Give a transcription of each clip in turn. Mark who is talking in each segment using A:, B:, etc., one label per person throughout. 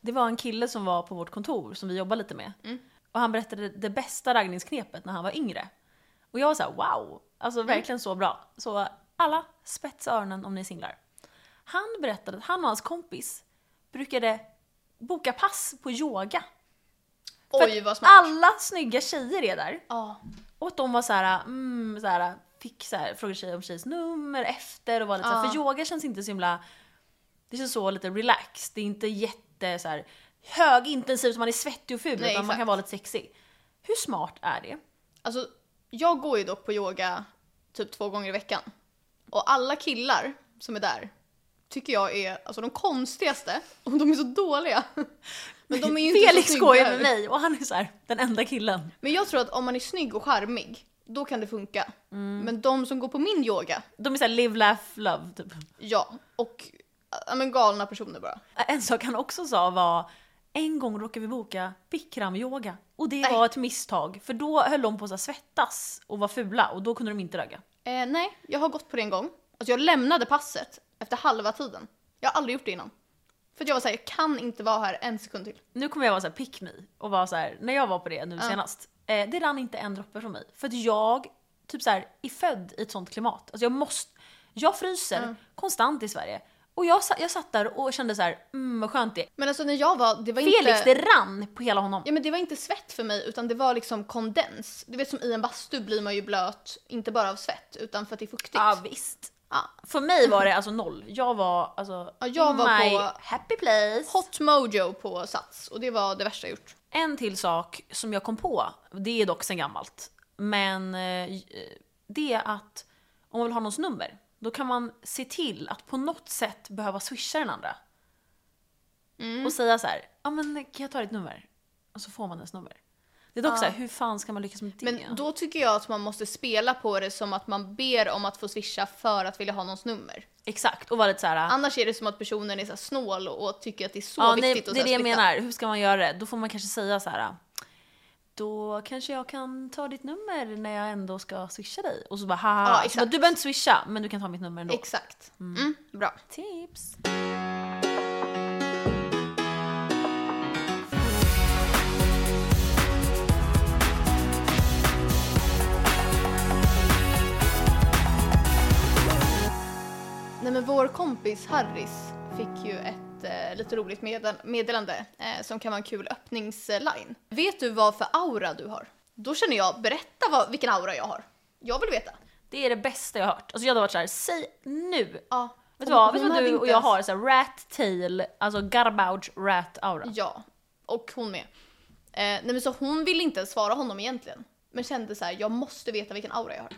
A: Det var en kille som var på vårt kontor som vi jobbar lite med. Och han berättade det bästa raggningsknepet när han var yngre. Och jag var så här: wow! Alltså verkligen så bra. Så alla, spetsa öronen om ni är singlar. Han berättade att han och hans kompis brukade boka pass på yoga. För
B: Oj
A: att
B: vad smart.
A: Alla snygga tjejer är där.
B: Ja.
A: Och att de var så här, mm, så här fick så här, frågade tjejer om tjejs nummer efter och var lite så här,
B: Ja.
A: för yoga känns inte så himla, det känns så lite relaxed, det är inte jätte så här högintensivt, man är svettig och ful utan
B: Nej,
A: man
B: exakt.
A: kan vara lite sexig. Hur smart är det?
B: Alltså, jag går ju dock på yoga typ två gånger i veckan. Och alla killar som är där tycker jag är alltså, de konstigaste och de är så dåliga. Men de är ju inte
A: Felix
B: så snygga.
A: skojar med mig och han är så här, den enda killen.
B: Men jag tror att om man är snygg och charmig, då kan det funka. Men de som går på min yoga,
A: De är såhär live, laugh, love typ.
B: ja. Och ja, men galna personer bara.
A: En sak han också sa var en gång råkade vi boka bikramyoga och det
B: Nej.
A: var ett misstag för då höll de på att så här svettas och var fula och då kunde de inte ragga.
B: Eh, nej, jag har gått på det en gång. Alltså jag lämnade passet efter halva tiden. Jag har aldrig gjort det innan. För att jag var såhär, jag kan inte vara här en sekund till.
A: Nu kommer jag vara så här pick me och vara så här, när jag var på det nu senast, eh, det rann inte en droppe från mig. För att jag typ så här, är född i ett sånt klimat. Alltså jag måste, jag fryser konstant i Sverige. Och jag, sa- jag satt där och kände så här, mm vad skönt det är.
B: Men alltså när jag var, det var
A: Felix,
B: inte...
A: det rann på hela honom.
B: Ja men det var inte svett för mig utan det var liksom kondens. Du vet som i en bastu blir man ju blöt, inte bara av svett utan för att det är fuktigt.
A: Ja visst.
B: Ja.
A: För mig var det alltså noll. Jag var alltså
B: Ja, jag var
A: my
B: på-
A: happy place.
B: Hot mojo på Sats och det var det värsta jag gjort.
A: En till sak som jag kom på, det är dock sen gammalt, men eh, det är att om man vill ha någons nummer, då kan man se till att på något sätt behöva swisha den andra.
B: Mm.
A: Och säga så här, ja men kan jag ta ditt nummer? Och så får man dess nummer. Det är dock så här, hur fan ska man lyckas med det?
B: Men då tycker jag att man måste spela på det som att man ber om att få swisha för att vilja ha någons nummer.
A: Exakt, och vara lite så här.
B: Annars är det som att personen är så här snål och och tycker att det är så
A: ja, nej,
B: viktigt att
A: det är
B: så
A: det
B: här
A: jag
B: splitta.
A: menar, hur ska man göra det? Då får man kanske säga så här. Då kanske jag kan ta ditt nummer när jag ändå ska swisha dig. Och så bara haha.
B: Ja,
A: Så
B: exakt.
A: bara, du behöver inte swisha men du kan ta mitt nummer ändå.
B: Exakt. Mm, bra.
A: tips.
B: Nej men vår kompis Harris fick ju ett eh, lite roligt medel- meddelande eh, som kan vara en kul öppningsline. Vet du vad för aura du har? Då känner jag, berätta vad, vilken aura jag har. Jag vill veta.
A: Det är det bästa jag har hört. Alltså jag hade varit så här, säg nu.
B: Ja.
A: Vet du
B: Hon-
A: vad, vet du
B: hon
A: vad
B: hade
A: du
B: inte
A: och jag
B: ens-
A: har? Så här, rat tail, alltså garbage rat aura.
B: Ja, och hon med. Eh, nej men så hon ville inte ens svara honom egentligen. Men kände så här, jag måste veta vilken aura jag har.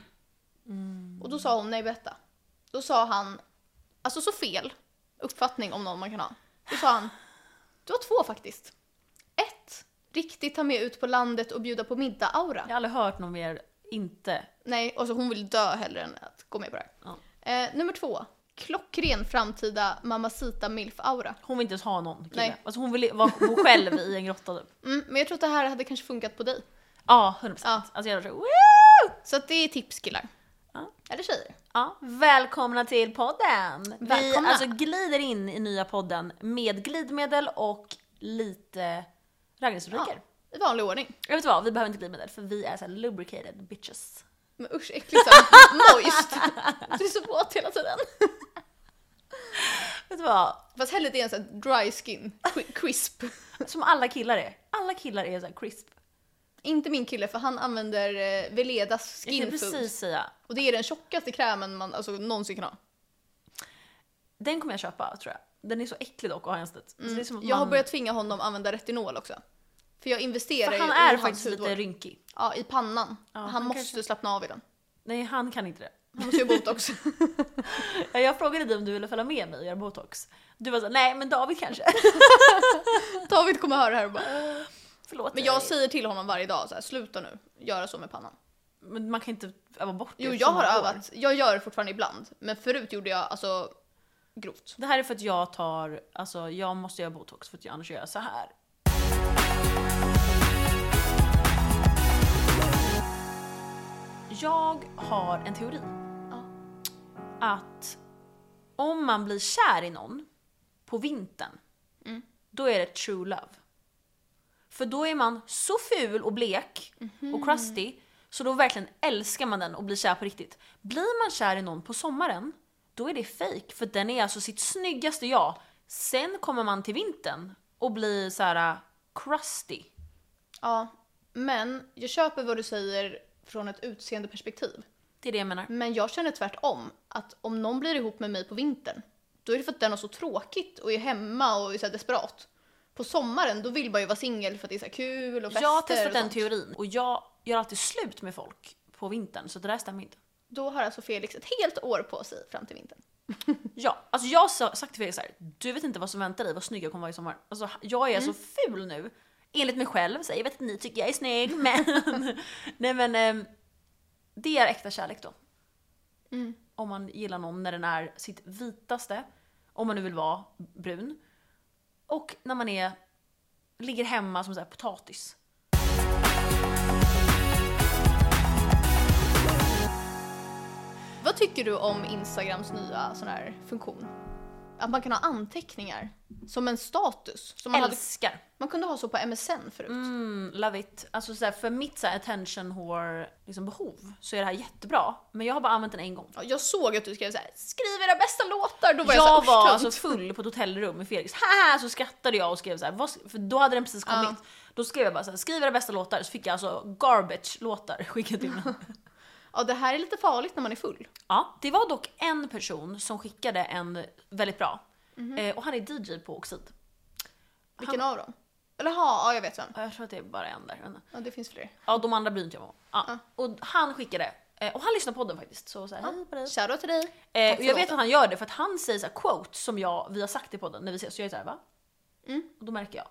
B: Och då sa hon, nej berätta. Då sa han, alltså så fel uppfattning om någon man kan ha. Då sa han, du har två faktiskt. Ett, riktigt ta med ut på landet och bjuda på middag-aura.
A: Jag har aldrig hört någon mer inte.
B: Nej, alltså hon vill dö hellre än att gå med på det här. Eh, nummer två, klockren framtida mamacita milf-aura.
A: Hon vill inte ens ha någon kille.
B: Nej.
A: Alltså hon vill vara bo själv i en grotta typ.
B: Mm, men jag tror att det här hade kanske funkat på dig.
A: Ja, 100%.
B: Ja.
A: Alltså jag hade varit så här, woo!
B: Så att det är tips killar.
A: Ja.
B: Eller tjejer.
A: Ja, välkomna till podden! Vi
B: Välkomna.
A: alltså glider in i nya podden med glidmedel och lite raggningsrubriker.
B: I vanlig ordning.
A: Jag vet vad, vi behöver inte glidmedel för vi är så här lubricated bitches.
B: Men usch äckligt såhär moist. Du är så våt hela tiden.
A: Vet du vad?
B: Fast hellre det är en sån här dry skin, qui- crisp.
A: Som alla killar är. Alla killar är så här crisp.
B: Inte min kille för han använder eh, Veledas
A: Jag
B: skin
A: tänkte
B: food.
A: precis säga.
B: Och det är den tjockaste krämen man alltså, någonsin kan ha.
A: Den kommer jag köpa tror jag. Den är så äcklig dock att ha i ansiktet. Så det är som att
B: Jag har
A: man-
B: börjat tvinga honom att använda retinol också. För jag investerar
A: För
B: ju
A: han
B: i
A: är
B: hans
A: faktiskt
B: hudvård.
A: lite rynkig.
B: Ja, i pannan. han,
A: han
B: måste
A: kanske-
B: slappna av i den.
A: Nej, han kan inte det.
B: Han måste göra botox.
A: Ja, Jag frågade dig om du ville följa med mig och göra botox. Du var såhär, nej men David kanske.
B: David kommer höra det här och bara...
A: Förlåt.
B: Men jag säger till honom varje dag så här, sluta nu, göra så med pannan.
A: men man kan inte öva bort det.
B: Jo, jag
A: som
B: har
A: går.
B: övat. Jag gör det fortfarande ibland. Men förut gjorde jag alltså grovt.
A: Det här är för att jag tar, alltså jag måste göra botox för att jag annars gör jag så här. Jag har en teori.
B: Ja. Mm.
A: Att om man blir kär i någon på vintern, då är det true love. För då är man så ful och blek
B: Mhm.
A: och crusty, så då verkligen älskar man den och blir kär på riktigt. Blir man kär i någon på sommaren, då är det fake för den är alltså sitt snyggaste jag. Sen kommer man till vintern och blir så här äh, crusty.
B: Ja, men jag köper vad du säger från ett utseendeperspektiv.
A: Det är det jag menar.
B: Men jag känner tvärtom. Att om någon blir ihop med mig på vintern, då är det för att den har så tråkigt och är hemma och är så här desperat. På sommaren, då vill man ju vara singel för att det är så här kul och fester
A: Jag har
B: och
A: testat den
B: sånt.
A: teorin och jag gör alltid slut med folk på vintern så det där stämmer inte.
B: Då har alltså Felix ett helt år på sig fram till vintern.
A: Ja, alltså jag har sa- sagt till Felix så här, du vet inte vad som väntar dig, vad snygg jag kommer vara i sommar. Alltså jag är
B: Mm.
A: så ful nu, enligt mig själv, så jag vet att ni tycker jag är snygg men... Nej men, ehm, det är äkta kärlek då.
B: Mm.
A: Om man gillar någon när den är sitt vitaste, om man nu vill vara brun. Och när man är, ligger hemma som så här potatis.
B: Vad tycker du om Instagrams nya sån här funktion? Att man kan ha anteckningar som en status. Som man, hade,
A: Älskar!
B: man kunde ha så på MSN förut.
A: Mm, love it. Alltså så här, för mitt så här, attention whore liksom, behov så är det här jättebra. Men jag har bara använt den en gång.
B: Ja, Jag såg att du skrev så här: skriv era bästa låtar! Då var
A: Jag,
B: jag, så
A: var
B: här,
A: alltså full på ett hotellrum med Felix, haha! Så skrattade jag och skrev så här, vad, för då hade den precis kommit. Då skrev jag bara så här, skriv era bästa låtar, så fick jag alltså garbage-låtar skickat till mig.
B: Ja, det här är lite farligt när man är full.
A: ja, det var dock en person som skickade en väldigt bra. Eh, och han är DJ på Oxid.
B: Vilken av dem? Eller ha, ja jag vet vem.
A: Jag tror att det är bara en där. men-
B: Ja, det finns fler.
A: Ja, de andra bryr inte jag mig om. Ja. Och han skickade, eh, och han lyssnar på podden faktiskt. Så, så här, hej på dig.
B: Shoutout till dig.
A: Eh,
B: Tack
A: och
B: för
A: jag vet
B: låten.
A: att han gör det för att han säger så här quotes som jag, vi har sagt i podden när vi ses. Så jag är såhär va? Och då märker jag.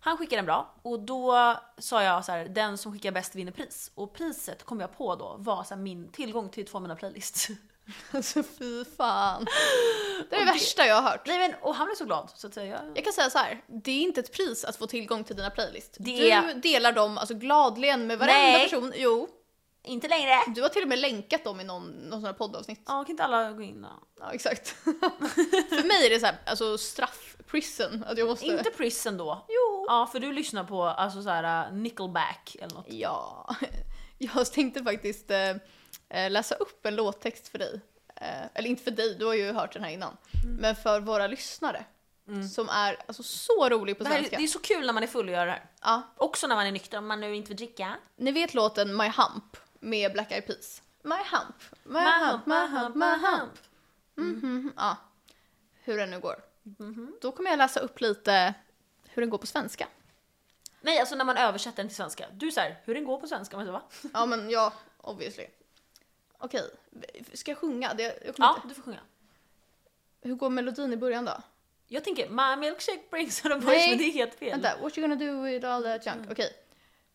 A: Han skickar en bra och då sa jag så här: den som skickar bäst vinner pris. Och priset kom jag på då var så här, min tillgång till två av mina playlists.
B: Alltså fy fan. Det är
A: Och
B: det
A: det-
B: värsta jag har hört.
A: Nej men och han blev så glad så att säga. Jag...
B: Jag kan säga så här, det är inte ett pris att få tillgång till dina playlist.
A: Det
B: Du
A: är-
B: delar dem alltså gladligen med varenda
A: Nej.
B: person. Jo,
A: Inte längre!
B: du har till och med länkat dem i någon, någon sån här poddavsnitt.
A: Ja kan inte alla gå in då?
B: Ja, exakt. För mig är det så här, alltså straff, prison, att jag måste...
A: Inte prison då.
B: Jo.
A: Ja för du lyssnar på alltså så här uh, nickelback eller något.
B: Ja, jag tänkte faktiskt eh, eh, läsa upp en låttext för dig. Eh, eller inte för dig, du har ju hört den här innan. Men för våra lyssnare. Som är alltså, så rolig på
A: Det, här, är-
B: svenska.
A: det är så kul när man är full och gör det här.
B: Ja,
A: Också när man är nykter om man nu inte vill dricka.
B: ni vet låten My Hump med Black Eyed Peas? My Hump, My, Hump, My Hump, My Hump. Mhm, ja. Hur den nu går.
A: Mm-hmm.
B: Då kommer jag läsa upp lite hur den går på svenska.
A: Nej, alltså när man översätter den till svenska. Du säger hur den går på svenska, men så va?
B: Ja men ja, obviously. Okej, ska jag sjunga? Det, jag kommer
A: Ja,
B: inte.
A: du får sjunga.
B: Hur går melodin i början då?
A: Jag tänker My milkshake brings out a
B: Nej,
A: voice, men det är helt fel.
B: Vänta, what you gonna do with all that junk? Okej.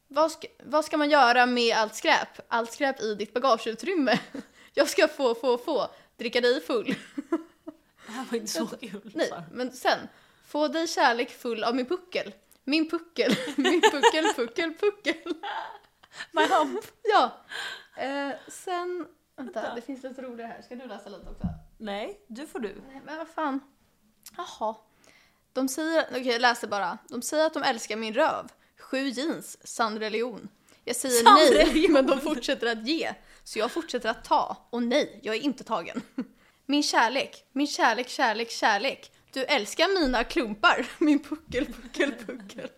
B: Vad, ska, vad ska man göra med allt skräp? Allt skräp i ditt bagageutrymme. Jag ska få, få, få. Dricka dig full.
A: Det här var inte så kul.
B: Nej,
A: Sara.
B: men sen. Få dig kärlek full av min puckel. Min puckel, min puckel, puckel, puckel.
A: My hump.
B: Ja. Eh, sen, vänta, det finns lite roligare här. Ska du läsa lite också?
A: Nej, du får du.
B: Nej, men vad fan. Jaha. De säger, okej jag läser bara. De säger att de älskar min röv. Sju jeans, sann religion. Jag säger
A: Sann
B: nej,
A: religion.
B: men de fortsätter att ge. Så jag fortsätter att ta. Och nej, jag är inte tagen. Min kärlek, min kärlek, kärlek, kärlek. Du älskar mina klumpar. Min puckel, puckel, puckel.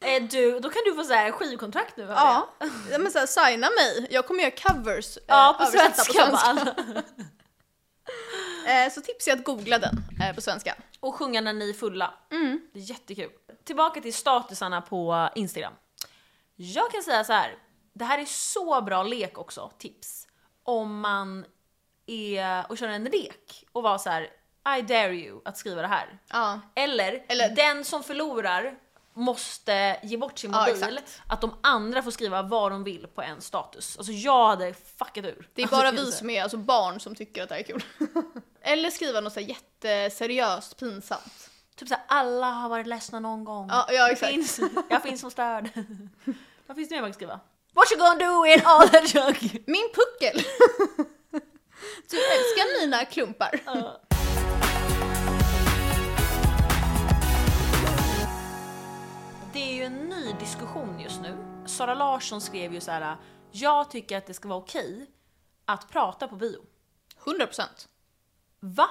A: Eh, du. Då kan du få så här skivkontrakt nu. hörde jag.
B: Ja, Eh, ja, men så här, signa mig. Jag kommer göra covers. eh,
A: Ja, på
B: översatta
A: svenska. bara.
B: Eh, Så tipsar jag att googla den eh, på svenska.
A: Och sjunga när ni är fulla.
B: Mm.
A: Det är jättekul. Tillbaka till statusarna på Instagram. Jag kan säga så här. Det här är så bra lek också, tips. Om man är och kör en lek och var så här. I dare you att skriva det här.
B: Ja.
A: Eller,
B: Eller-
A: den som förlorar måste ge bort sin
B: Ja,
A: mobil.
B: exakt.
A: att de andra får skriva vad de vill på en status. Alltså jag hade fuckat ur.
B: Det är
A: alltså,
B: bara
A: kan jag
B: vi
A: säga.
B: som är alltså barn som tycker att det här är kul. Eller skriva något så här jätteseriöst pinsamt.
A: Typ såhär, alla har varit ledsna någon gång.
B: Ja, ja
A: jag,
B: exakt.
A: finns, jag finns som stöd. vad finns det mer man kan skriva? What you gonna do in all that junk?
B: Min puckel! du älskar mina klumpar.
A: Ja. det är ju en ny diskussion just nu. Sara Larsson skrev ju så här: jag tycker att det ska vara okej att prata på bio.
B: 100%.
A: Va?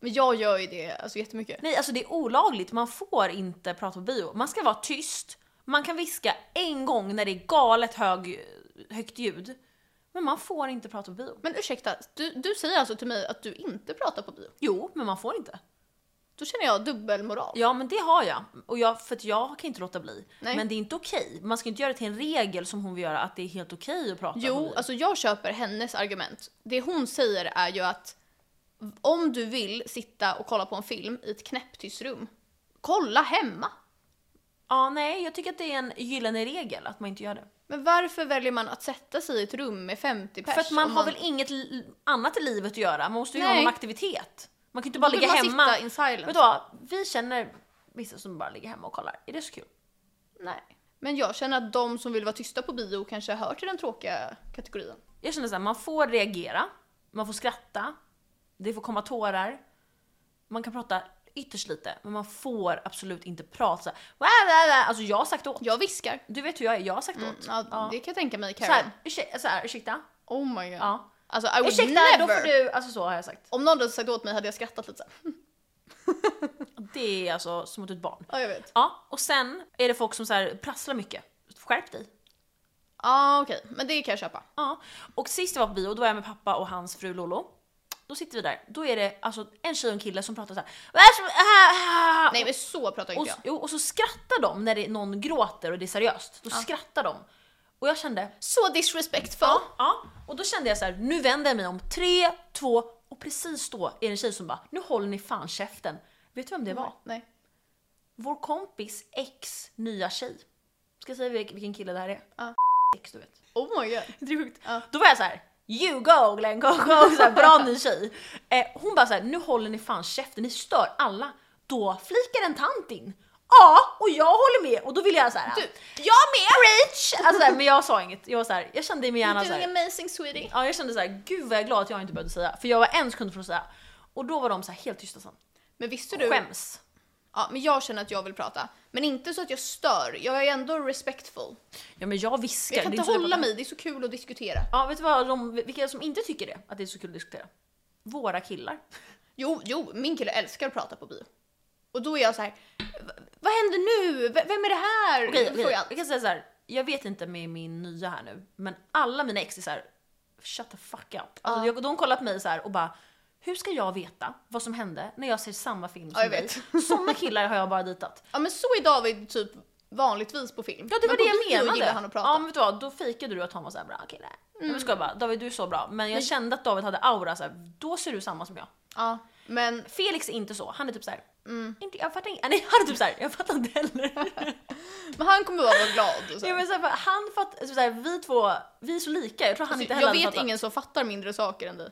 B: Men jag gör ju det alltså, jättemycket.
A: Nej, alltså det är olagligt. Man får inte prata på bio. Man ska vara tyst. Man kan viska en gång när det är galet hög, högt ljud. Men man får inte prata på bio.
B: Men ursäkta, du, du säger alltså till mig att du inte pratar på bio?
A: Jo, men man får inte.
B: Då känner jag dubbelmoral.
A: Ja, men det har jag. Och jag för att jag kan inte låta bli.
B: Nej.
A: Men det är inte okej. Man ska inte göra det till en regel som hon vill göra, att det är helt okej att prata på
B: Jo,
A: bio.
B: alltså jag köper hennes argument. Det hon säger är ju att om du vill sitta och kolla på en film i ett knäpptyst rum, kolla hemma.
A: Ja, nej, jag tycker att det är en gyllene regel att man inte gör det.
B: Men varför väljer man att sätta sig i ett rum med 50 pers?
A: För att man,
B: om
A: har väl inget li- annat i livet att göra, man måste ju ha
B: Nej.
A: någon aktivitet. Man kan inte bara
B: Då vill
A: ligga
B: man
A: hemma.
B: sitta in silence.
A: Vet du vad? Vi känner vissa som bara ligger hemma och kollar. Är det så kul?
B: Nej. Men jag känner att de som vill vara tysta på bio kanske hör till den tråkiga kategorin.
A: Jag känner så här, man får reagera, man får skratta, det får komma tårar, man kan prata ytterst lite, men man får absolut inte prata så här, "Wah, wah, wah." Alltså jag har sagt åt.
B: Jag viskar.
A: Du vet hur jag är, jag har sagt
B: Mm,
A: åt.
B: ja,
A: Ja.
B: Det kan jag tänka mig
A: Så här,
B: Karen.
A: ursäkta, så här, ursäkta.
B: Oh my god.
A: Ja.
B: Alltså I would
A: Ursäkta,
B: never.
A: då får du, alltså så har jag sagt.
B: Om någon hade sagt åt mig hade jag skrattat lite så här.
A: Det är alltså som åt ett barn.
B: Ja, jag vet. Ja,
A: Ja, och sen är det folk som så här prasslar mycket. Skärp dig.
B: ah, okej. Men det kan jag köpa.
A: Ja. Och sist jag var på bio, då var jag med pappa och hans fru Lolo. Då sitter vi där, då är det alltså en tjej och en kille som pratar så här. "Vad är det som- ah, ah."
B: Nej, men så pratar
A: och,
B: inte jag.
A: jo, och så skrattar de när det, någon gråter och det är seriöst. Då skrattar de. Och jag kände,
B: Så disrespectful.
A: ja, ja. Och då kände jag så här, nu vänder jag mig om. Tre, två, och precis då är det en tjej som bara, nu håller ni fan käften. Vet du vem det var?
B: Nej.
A: Vår kompis ex nya tjej. Ska jag säga vilk- vilken kille det här är?
B: Ja.
A: Ex, du vet.
B: Oh my god.
A: Det är sjukt.
B: Ja.
A: Då var jag så här. You go Glenn, go, go. Så här, bra ny tjej. Eh, hon bara så här, nu håller ni fan käften, ni stör alla. Då flikar en tant in. Ja, och jag håller med och då vill jag så här.
B: Du,
A: jag med! Preach! Alltså, så här, men jag sa inget. Jag var så här, jag kände i min hjärna så
B: Doing
A: här,
B: amazing sweetie.
A: ja, jag kände så här, gud vad jag är glad att jag inte behövde säga. För jag var en sekund från att säga. Och då var de så här helt tysta sen.
B: Men visste du?
A: Skäms.
B: Ja, men jag känner att jag vill prata. Men inte så att jag stör. Jag är ändå respectful.
A: Ja men jag
B: Men
A: viskar.
B: jag kan
A: det är
B: inte
A: så jag
B: hålla
A: bara-
B: mig, det är så kul att diskutera.
A: Ja vet du vad, de, vilka som inte tycker det? Att det är så kul att diskutera? Våra killar.
B: Jo, jo, min kille älskar att prata på bio. Och då är jag så här, "V- vad händer nu? V- Vem är det här?
A: Okej,
B: Frågar
A: okej.
B: jag.
A: jag kan säga så här. jag vet inte med min nya här nu, men alla mina ex är så här. shut the fuck up. Alltså,
B: Ja.
A: jag, de kollar på mig så här och bara, hur ska jag veta vad som hände när jag ser samma film som
B: Ja, jag
A: dig?
B: vet.
A: Sådana killar har jag bara ditat.
B: Ja men så är David typ vanligtvis på film.
A: Ja det var
B: men
A: det
B: på
A: jag
B: bio
A: menade.
B: gillar han att prata.
A: Ja men vet du vad, då fejkade du att han var såhär bra, okej nej. Mm. Men skojar bara, David du är så bra. Men jag kände att David hade aura så här. då ser du samma som jag.
B: Ja, men
A: Felix är inte så, han är typ så här.
B: Mm.
A: Inte, jag fattar inte, nej han är typ såhär, jag fattar inte heller.
B: Men han kommer bara vara glad. Och så.
A: Ja, men så här, för han fatt, så här, vi två, vi är så lika, jag tror han inte heller
B: Alltså, jag
A: hade
B: vet
A: fattat.
B: ingen som fattar mindre saker än dig.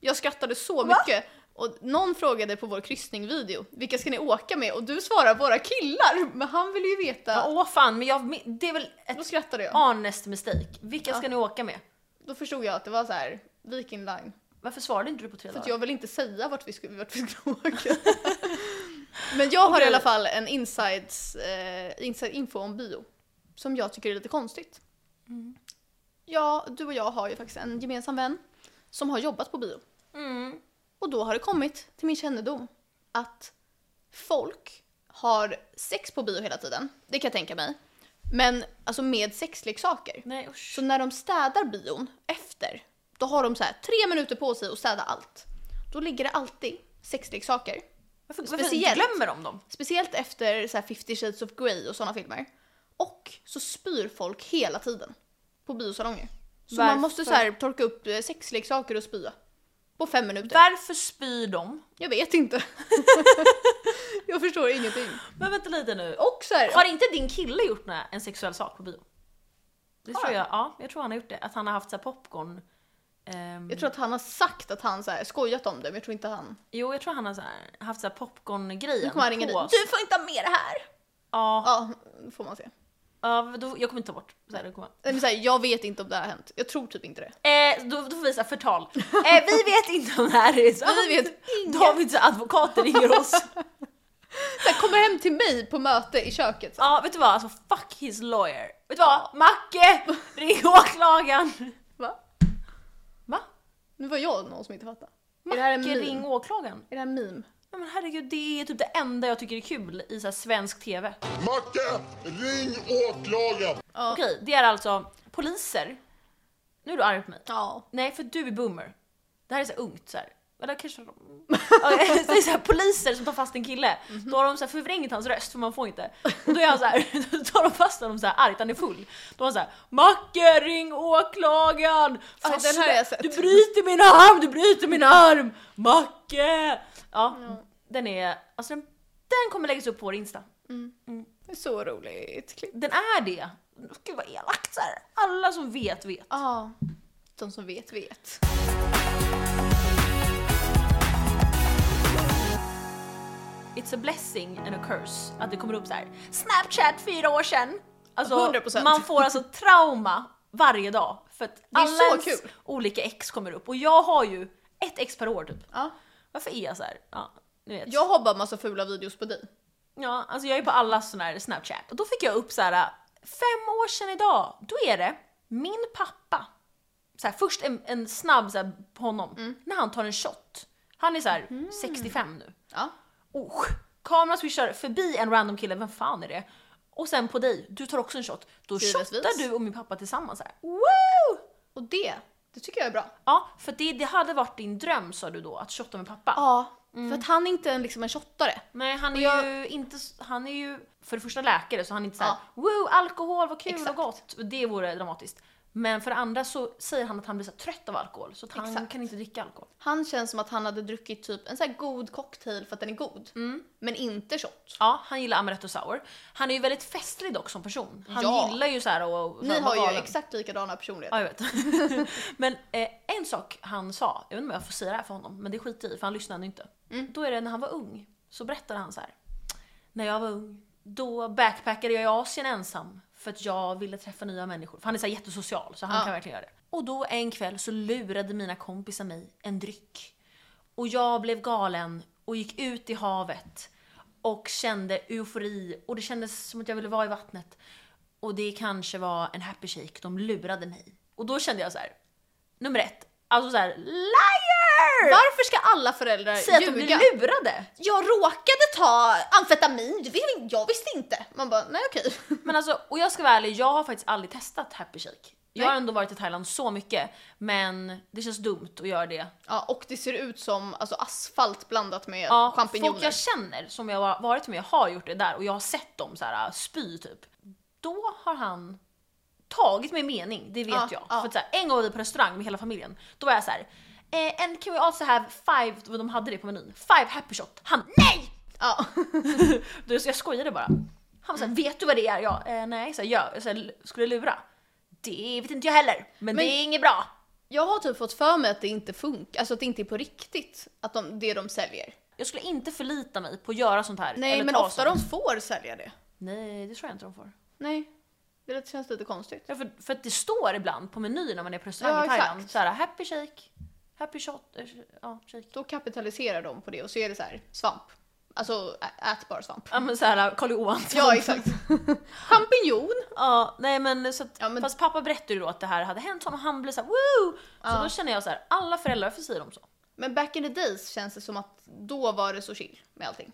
B: Jag skrattade så
A: Va?
B: mycket. Och någon frågade på vår kryssningvideo, vilka ska ni åka med? Och du svarar våra killar! Men han ville ju veta.
A: Ja, åh fan, men jag, det är väl
B: Då
A: ett
B: skrattade jag.
A: honest mistake. Vilka ska ni åka med?
B: Då förstod jag att det var så här, Viking Line.
A: Varför svarade inte du på tre
B: För att
A: dagar?
B: jag vill inte säga vart vi skulle, vart vi skulle åka. Men jag har i alla fall en insides, eh, inside info om bio. Som jag tycker är lite konstigt.
A: Mm.
B: Ja, du och jag har ju faktiskt en gemensam vän som har jobbat på bio.
A: Mm.
B: Och då har det kommit till min kännedom att folk har sex på bio hela tiden. Det kan jag tänka mig. Men alltså med sexleksaker.
A: Nej usch.
B: Så när de städar bion efter, då har de så här tre minuter på sig att städa allt. Då ligger det alltid sexleksaker.
A: Varför, varför
B: speciellt.
A: glömmer de dem?
B: Speciellt efter så här 50 shades of Grey och sådana filmer. Och så spyr folk hela tiden på biosalonger. Så
A: Varför?
B: man måste så här torka upp eh, sexleksaker och spya. På fem minuter.
A: Varför spyr de?
B: Jag vet inte. jag förstår ingenting.
A: Men vänta lite nu.
B: Och så här,
A: Har inte din kille gjort nä- en sexuell sak på bio? Det
B: Har
A: tror
B: han?
A: jag, ja, jag tror han har gjort det. Att han har haft så här popcorn. ehm,
B: jag tror att han har sagt att han så här, skojat om det men jag tror inte han...
A: Jo jag tror han har så här, haft så här
B: Nu
A: popcorn-grejen
B: kommer han ringa
A: på
B: dit.
A: sig.
B: Du får inte ha med det här!
A: Ja,
B: Ja, då får man se.
A: ja då, jag kommer inte ta bort. Så här, det kommer.
B: Nej, Men så här, jag vet inte om det här har hänt. Jag tror typ inte det.
A: Eh, då, då får vi säga förtal. Eh, vi vet inte om det här är sant.
B: Vi vet
A: Davids advokater ringer oss.
B: Så här, kommer hem till mig på möte i köket. Så. här.
A: Ja, vet du vad? Alltså fuck his lawyer. Vet du vad? Macke! Ring åklagaren!
B: Va?
A: Va?
B: Nu var jag någon som inte fattade. Är det här en
A: Macke,
B: meme?
A: ring åklagaren.
B: Är det här en meme?
A: Nej men herregud, det är typ det enda jag tycker är kul i så här svensk TV.
C: Macke, ring åklagaren!
B: Ja.
A: Okej, det är alltså poliser. Nu är du arg på mig.
B: Ja.
A: Nej, för du är boomer. Det här är så här ungt så här. Eller kanske de... Okej, det är så här, poliser som tar fast en kille.
B: Mhm.
A: Då har de så här förvrängt hans röst för man får inte. Och då är han så här, då tar de fast honom så här argt, han är full. Då har han så här “Macke, ring åklagaren!” Fan,
B: den här har jag sett.
A: “Du bryter min arm, du bryter min arm! Macke!” Ja, den är... Alltså den, den kommer läggas upp på vår Insta.
B: Det är så roligt klipp.
A: Den är det. Gud vad elakt så här. Alla som vet vet.
B: Ja. De som vet vet.
A: It's a blessing and a curse att det kommer upp så här. Snapchat fyra år sedan. Alltså
B: 100%.
A: man får alltså trauma varje dag för att
B: är
A: alla
B: så
A: ens
B: kul.
A: olika ex kommer upp och jag har ju ett ex per år typ.
B: Ja.
A: Varför är jag så här? Ja, ni vet.
B: Jag har bara massa fula videos på dig.
A: Ja, alltså jag är på alla sådana här Snapchat och då fick jag upp så här fem år sedan idag. Då är det min pappa. Så här, först en, en snabb så här, på honom när han tar en shot. Han är så här 65 nu.
B: Ja.
A: Oh, kameran swishar förbi en random kille, vem fan är det? Och sen på dig, du tar också en shot. Då
B: Givetvis.
A: shottar du och min pappa tillsammans här. Woo!
B: Och det, det tycker jag är bra.
A: Ja, för det, det hade varit din dröm sa du då, att shotta med pappa.
B: Ja. För att han är inte en, liksom en shottare.
A: Nej, han är,
B: jag-
A: ju inte, s- han är ju för det första läkare så han är inte såhär
B: Ja.
A: “woo, alkohol, vad kul
B: Exakt.
A: och gott”. Och Det vore dramatiskt. Men för det andra så säger han att han blir så här trött av alkohol, så att han
B: Exakt.
A: kan inte dricka alkohol.
B: Han känns som att han hade druckit typ en så här god cocktail för att den är god. Men inte shot.
A: Ja, han gillar amaretto sour. Han är ju väldigt festlig dock som person. Han
B: Ja.
A: gillar ju såhär och, och
B: Ni har ju
A: galen.
B: exakt likadana personligheter.
A: Ja, jag vet. men eh, en sak han sa, jag vet inte om jag får säga det här för honom, men det skiter jag i för han lyssnade inte.
B: Mm.
A: Då är det när han var ung, så berättade han så här. När jag var ung, då backpackade jag i Asien ensam för att jag ville träffa nya människor. För han är så här jättesocial så han
B: Ja.
A: kan verkligen göra det. Och då en kväll så lurade mina kompisar mig en dryck. Och jag blev galen och gick ut i havet och kände eufori och det kändes som att jag ville vara i vattnet. Och det kanske var en happy shake, de lurade mig. Och då kände jag så här. nummer ett, alltså så här, liar!
B: Varför ska alla föräldrar
A: Säg att de
B: ljuga?
A: blir lurade!
B: jag råkade ta amfetamin, du vet- jag visste inte. Man bara, nej okej.
A: Men alltså, och jag ska vara ärlig, jag har faktiskt aldrig testat happy shake. Jag har
B: Nej.
A: ändå varit i Thailand så mycket, men det känns dumt att göra det.
B: Ja, och det ser ut som alltså, asfalt blandat med
A: Ja,
B: champinjoner.
A: folk jag känner som jag har varit med har gjort det där och jag har sett dem så här spy typ. Då har han tagit mig mening, det vet
B: Ja,
A: jag.
B: ja.
A: För att så här, en gång var vi på restaurang med hela familjen, då var jag så här. Eh, and can we also have five, och de hade det på menyn, five happy shot. Han NEJ!
B: Ja.
A: Du, så jag skojade bara. Han var såhär, vet du vad det är? Jag, eh, nej, så här, ja. jag så här, skulle lura. Det vet inte jag heller, men, det är inget bra.
B: Jag har typ fått för mig att det inte funkar, alltså att det inte är på riktigt att de, det de säljer.
A: Jag skulle inte förlita mig på att göra sånt här.
B: Nej
A: eller
B: men
A: ta
B: ofta
A: sånt.
B: de får sälja det.
A: Nej, det tror jag inte de får.
B: Nej, det lät- känns lite konstigt.
A: Ja, för, för att det står ibland på menyn när man är på restaurang
B: Ja,
A: i Thailand,
B: exakt.
A: såhär happy shake, happy shot, eh, ja shake.
B: Då kapitaliserar de på det och så är det så här svamp. Alltså ä- ätbar svamp.
A: Ja men såhär Karl Johan.
B: Ja exakt. Champinjon!
A: Ja, nej men så att,
B: Ja, men-
A: fast pappa berättade ju då att det här hade hänt honom och han blev såhär woo! Så då känner jag så här: alla föräldrar, varför säger de så?
B: Men back in the days känns det som att då var det så chill med allting.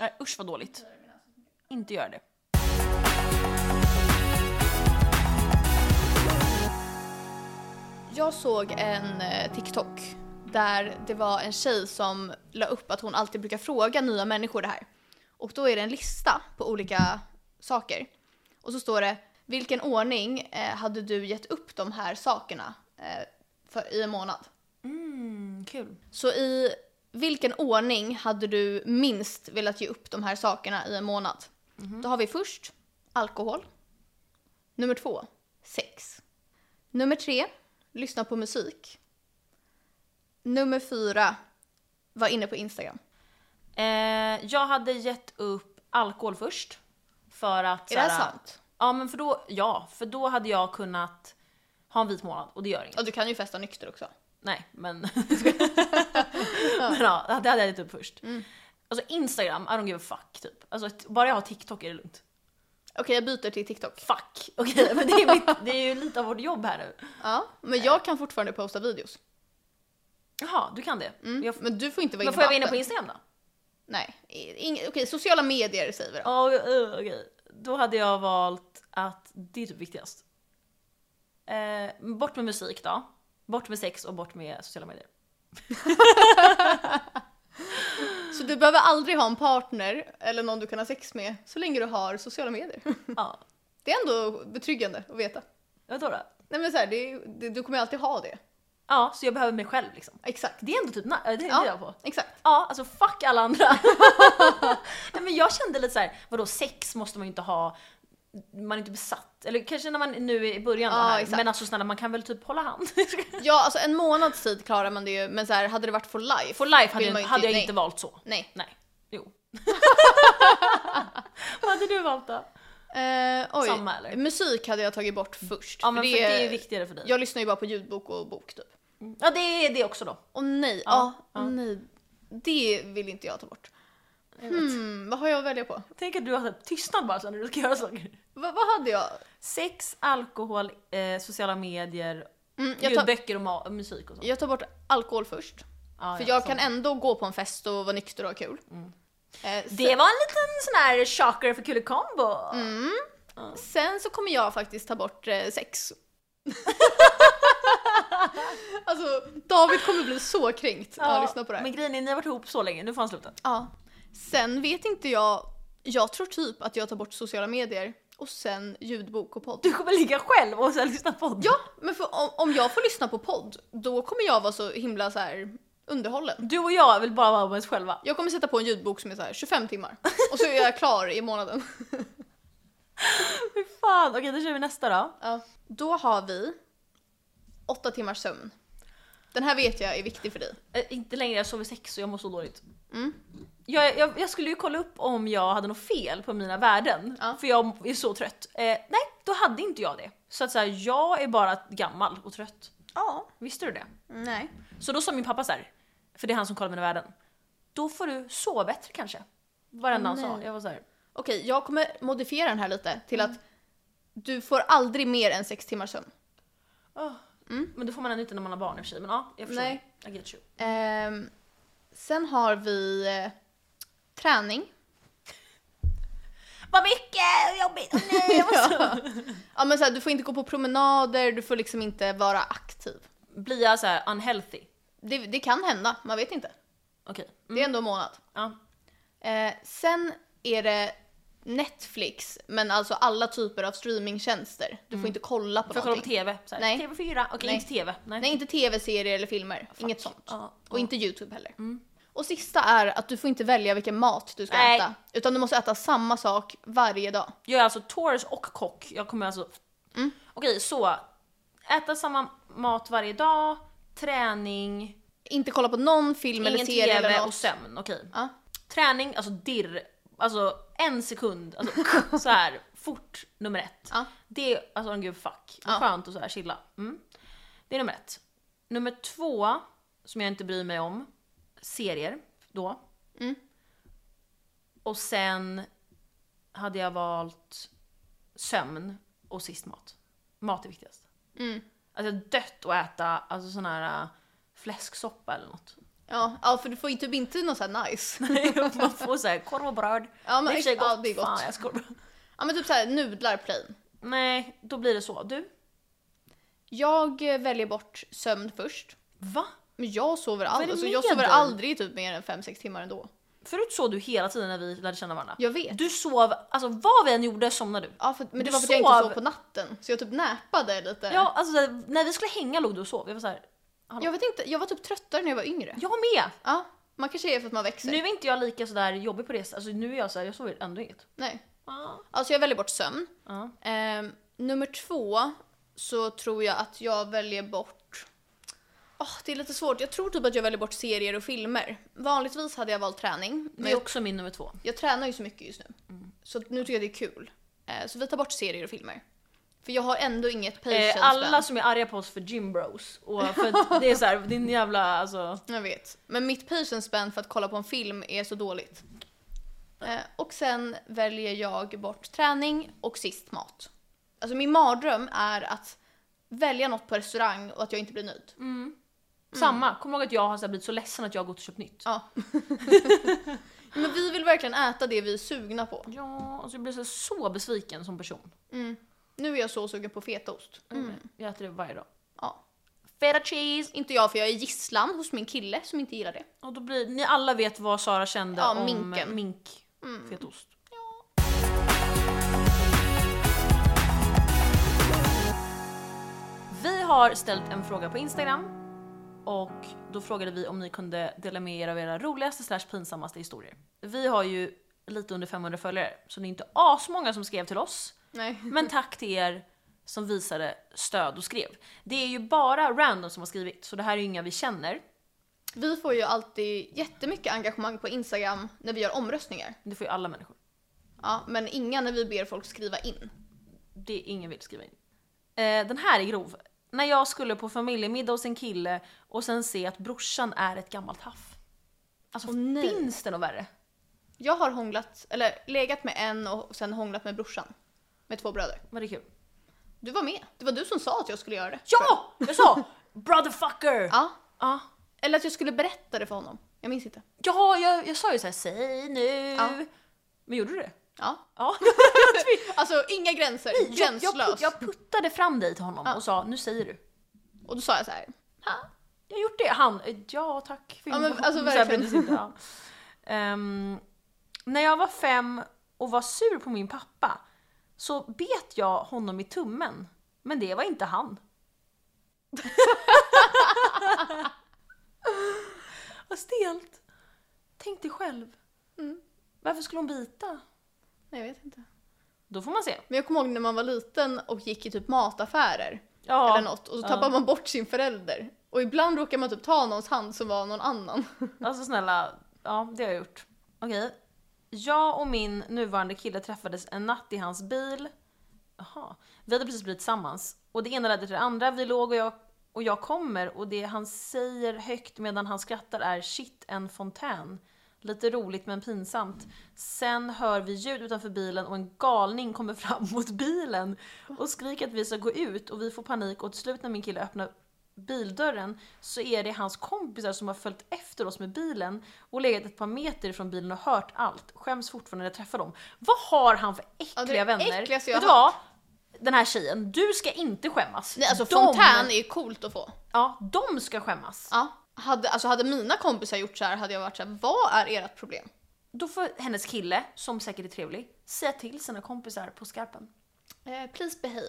A: Nej, usch vad dåligt. Inte gör det.
B: Jag såg en eh, TikTok där det var en tjej som la upp att hon alltid brukar fråga nya människor det här. Och då är det en lista på olika saker. Och så står det vilken ordning eh, hade du gett upp de här sakerna eh, för, i en månad?
A: Mm, kul.
B: Så i vilken ordning hade du minst velat ge upp de här sakerna i en månad?
A: Mhm.
B: Då har vi först alkohol. Nummer två, sex. Nummer tre, lyssna på musik. Nummer fyra, var inne på Instagram.
A: Eh, jag hade gett upp alkohol först. För att...
B: Är det här
A: såhär-
B: sant?
A: Ja, men för då, ja, för då hade jag kunnat ha en vit månad och det gör inget.
B: Och du kan ju festa nykter också. Mm.
A: Nej, men... men ja, det hade jag gett upp först. Alltså Instagram, I don't give a fuck typ. Alltså t- bara jag har TikTok är det lugnt.
B: Okej, jag byter till TikTok.
A: Fuck! Okej, men det är, mitt, det är ju lite av vårt jobb här nu.
B: Ja, men jag kan fortfarande posta videos.
A: Jaha, du kan det. Jag,
B: Men du får inte vara
A: men
B: inne
A: får jag vara inne på
B: appen.
A: Instagram då?
B: Nej, ing- okej, sociala medier säger vi då.
A: Ja, oh, okej. Då hade jag valt att det är typ viktigast. Eh, bort med musik då. Bort med sex och bort med sociala medier.
B: Så du behöver aldrig ha en partner eller någon du kan ha sex med så länge du har sociala medier.
A: Ja,
B: Det är ändå betryggande att veta.
A: vadå då?
B: Nej men så här, det, det, du kommer ju alltid ha det.
A: Ja, så jag behöver mig själv liksom.
B: Exakt.
A: Det är ändå typ na- det tänkte jag på.
B: Ja, exakt.
A: Ja, alltså fuck alla andra. Nej men jag kände lite så här, vadå sex måste man ju inte ha, man är inte besatt. Eller kanske när man nu är i början då
B: Ja,
A: här.
B: exakt.
A: Men alltså snälla man kan väl typ hålla hand.
B: Ja, alltså en månads tid klarar man det ju, men så här, hade det varit for life.
A: For life hade,
B: vill man
A: jag,
B: ju
A: hade jag
B: nej.
A: inte valt så.
B: Nej.
A: Nej, jo. Vad hade du valt då?
B: Eh, oj.
A: Samma, eller?
B: Musik hade jag tagit bort först.
A: Ja men för det, är ju viktigare för dig.
B: Jag lyssnar ju bara på ljudbok och bok typ.
A: Ja det är det också då.
B: Och nej, ja,
A: Ja,
B: åh nej. Det vill inte jag ta bort. Hmm, vad har jag att välja på?
A: Tänk att du har så här tystnad bara så när du ska göra saker.
B: Va, vad hade jag?
A: Sex, alkohol, eh, sociala medier,
B: Mm, jag, tar,
A: ljudböcker och ma- musik och sånt.
B: jag tar bort alkohol först.
A: Ja,
B: För
A: ja,
B: jag
A: sånt.
B: kan ändå gå på en fest och vara nykter och ha kul. Eh, sen,
A: Det var en liten sån här shocker för kul combo.
B: Mm, sen så kommer jag faktiskt ta bort eh, sex. alltså, David kommer bli så kränkt när han lyssnar på det här.
A: Men grejen är, ni har varit ihop så länge, nu får han sluta.
B: Ja. Sen vet inte jag, jag tror typ att jag tar bort sociala medier och sen ljudbok och podd.
A: Du kommer ligga själv och sen lyssna på podden.
B: Ja, men för om, om jag får lyssna på podd, då kommer jag vara så himla så här underhållen.
A: Du och jag vill bara vara med oss själva.
B: Jag kommer sätta på en ljudbok som är så här 25 timmar och så är jag klar i månaden.
A: Fy fan, okej då kör vi nästa då.
B: Ja. Då har vi 8 timmars sömn. Den här vet jag är viktig för dig.
A: Eh, inte längre, jag sover sex och jag mår så dåligt.
B: Mm.
A: Jag, jag, jag skulle ju kolla upp om jag hade något fel på mina värden,
B: Ja.
A: för jag är så trött. Eh, nej, då hade inte jag det. Så att så här, jag är bara gammal och trött.
B: Ja.
A: Visste du det?
B: Nej.
A: Så då sa min pappa så här, för det är han som kollar mina värden. Då får du sova bättre kanske. Varenda han sa.
B: Nej.
A: Jag var så här,
B: Okej, jag kommer modifiera den här lite till att du får aldrig mer än 6 timmars sömn.
A: "Åh." Men det får man ändå inte när man har barn i och för sig. Men ja, jag förstår.
B: Mm. Nej.
A: I get you.
B: Ehm, sen har vi eh, träning.
A: Vad mycket! och Jobbigt! Åh, nej, jag måste...
B: Ja, men så här, du får inte gå på promenader, du får liksom inte vara aktiv.
A: Blir jag så här unhealthy?
B: Det, det kan hända, man vet inte.
A: Okej. Mm,
B: Det är ändå en månad.
A: Ja.
B: Eh, sen är det Netflix, men alltså alla typer av streamingtjänster. Du får inte kolla på
A: Mm. Får jag kolla på
B: någonting.
A: TV? Så här,
B: Nej.
A: TV4? Okej,
B: Nej.
A: inte TV. Nej.
B: Nej, inte tv-serier eller filmer. Inget sånt.
A: Ja, Mm.
B: Och inte YouTube heller. Och sista är att du får inte välja vilken mat du ska
A: Nej.
B: äta. Utan du måste äta samma sak varje dag.
A: Jag är alltså tours och kock. Jag kommer alltså...
B: Mm.
A: Okej, så. Äta samma mat varje dag, träning,
B: Inte kolla på någon film eller
A: ingen
B: serie eller
A: TV
B: något.
A: och sömn. Okej.
B: Ja.
A: Träning, alltså dirr. Alltså en sekund, alltså så här fort, nummer ett.
B: Ja.
A: Det är alltså en gud fuck. Vad
B: Ja.
A: Skönt och så här chilla. Mm. Det är nummer ett. Nummer två, som jag inte bryr mig om, serier då.
B: Mm.
A: Och sen hade jag valt sömn och sist mat. Mat är viktigast.
B: Mm.
A: Alltså jag har dött att äta alltså sån här äh, fläsksoppa eller något.
B: Ja, ja för du får ju typ inte något så här nice.
A: Man får såhär korv och bröd.
B: Ja, men
A: Det är i och för sig
B: ja, det är gott.
A: Fan, jag skojar bara.
B: Ja men typ såhär nudlar plain.
A: Nej, då blir det så. Du?
B: Jag eh, väljer bort sömn först.
A: Va?
B: Men jag sover
A: är
B: aldrig,
A: det
B: alltså,
A: med
B: jag sover
A: dig?
B: aldrig typ mer än 5-6 timmar ändå.
A: Förut sov du hela tiden när vi lärde känna varandra.
B: Jag vet.
A: Du sov, alltså vad vi än gjorde somnade du.
B: Ja, för, men det
A: Du
B: var för att jag inte
A: sov.
B: sov på natten. Så jag typ näpade lite.
A: Ja, alltså när vi skulle hänga låg du och sov. Jag var såhär, hallå.
B: Jag vet inte, jag var typ tröttare när jag var yngre.
A: jag med!
B: Ja, man kanske är för att man växer.
A: Nu är inte jag lika sådär jobbig på det sättet. Alltså nu är jag såhär, jag sover ändå inget.
B: Nej.
A: Ja.
B: Alltså jag väljer bort sömn.
A: Ja.
B: Ehm, nummer två så tror jag att jag väljer bort... Åh, det är lite svårt. Jag tror typ att jag väljer bort serier och filmer. Vanligtvis hade jag valt träning.
A: Det
B: Men
A: är
B: jag,
A: också min nummer två. Mm.
B: jag tränar ju så mycket just nu. Så att nu tycker jag det är kul. Eh, så vi tar bort serier och filmer. För jag har ändå inget
A: Eh,
B: patience.
A: alla som är arga på oss för gym bros och för att det är så här, din jävla alltså.
B: Jag vet. Men mitt patience span för att kolla på en film är så dåligt. Eh, och sen väljer jag bort träning och sist mat. Alltså min mardröm är att välja något på restaurang och att jag inte blir nöjd.
A: Mm. Samma, kom ihåg att jag har så här blivit så ledsen att jag har gått och köpt nytt.
B: Ja. Men vi vill verkligen äta det vi är sugna på.
A: Ja, alltså jag blir så, här, så besviken som person.
B: Nu är jag så sugen på fetaost.
A: Jag äter det varje dag.
B: Ja.
A: Mm. Feta cheese!
B: Inte jag för jag är gisslan hos min kille som inte gillar det.
A: Och då blir, ni alla vet vad Sara kände
B: Ja,
A: om
B: minken. Mm.
A: mink, fetost. Vi har ställt en fråga på Instagram och då frågade vi om ni kunde dela med er av era roligaste slash pinsammaste historier. Vi har ju lite under 500 följare så det är inte asmånga som skrev till oss.
B: Nej.
A: Men tack till er som visade stöd och skrev. Det är ju bara random som har skrivit så det här är ju inga vi känner.
B: Vi får ju alltid jättemycket engagemang på Instagram när vi gör omröstningar.
A: Det får ju alla människor.
B: Ja, men inga när vi ber folk skriva in.
A: Det ingen vill skriva in. Eh, den här är grov. När jag skulle på familjemiddag hos en kille och sen se att brorsan är ett gammalt haff. Alltså
B: Åh, nej.
A: finns det något värre?
B: Jag har hånglat, eller legat med en och sen hånglat med brorsan. Med två bröder.
A: Var det kul?
B: Du var med. Det var du som sa att jag skulle göra det.
A: Ja! Jag sa brotherfucker!
B: Ja.
A: Ja.
B: Eller att jag skulle berätta det för honom. Jag minns inte.
A: Ja, jag, jag sa ju såhär säg nu.
B: Ja.
A: Men gjorde du det?
B: Ja.
A: Ja.
B: Alltså inga gränser.
A: Jag, jag,
B: Gränslös.
A: put- jag puttade fram dig till honom och sa nu säger du.
B: Och då sa jag så här.
A: Jag har gjort det. Han, eh, ja tack. För
B: Ja, men
A: information.
B: alltså
A: Så här
B: verkligen.
A: brydde sig inte han. Ehm, när jag var fem och var sur på min pappa så bet jag honom i tummen. Men det var inte han. Vad stelt. Tänk dig själv.
B: Mm.
A: Varför skulle hon bita?
B: Nej, jag vet inte.
A: Då får man se.
B: Men jag kommer ihåg när man var liten och gick i typ mataffärer.
A: Ja.
B: Eller något. Och så tappar man bort sin förälder. Och ibland råkar man typ ta någons hand som var någon annan.
A: Alltså snälla, ja det har jag gjort. Okej. Jag och min nuvarande kille träffades en natt i hans bil. Jaha. Vi hade precis blivit tillsammans. Och det ena ledde till det andra. Vi låg och jag, och jag kommer och det han säger högt medan han skrattar är shit en fontän. Lite roligt men pinsamt. Sen hör vi ljud utanför bilen och en galning kommer fram mot bilen och skriker att vi ska gå ut och vi får panik och till slut när min kille öppnar bildörren så är det hans kompisar som har följt efter oss med bilen och legat ett par meter från bilen och hört allt. Skäms fortfarande när jag träffar dem. Vad har han för äckliga
B: det är det
A: vänner?
B: äckligaste jag
A: Vet du
B: har
A: vad? Den här tjejen, du ska inte skämmas.
B: Nej, alltså
A: De-
B: fontän är ju coolt att få.
A: Ja, de ska skämmas.
B: Ja. Hade, alltså hade mina kompisar gjort så här hade jag varit så här, vad är ert problem?
A: Då får hennes kille, som säkert är trevlig, säga till sina kompisar på skarpen.
B: Eh, please behave.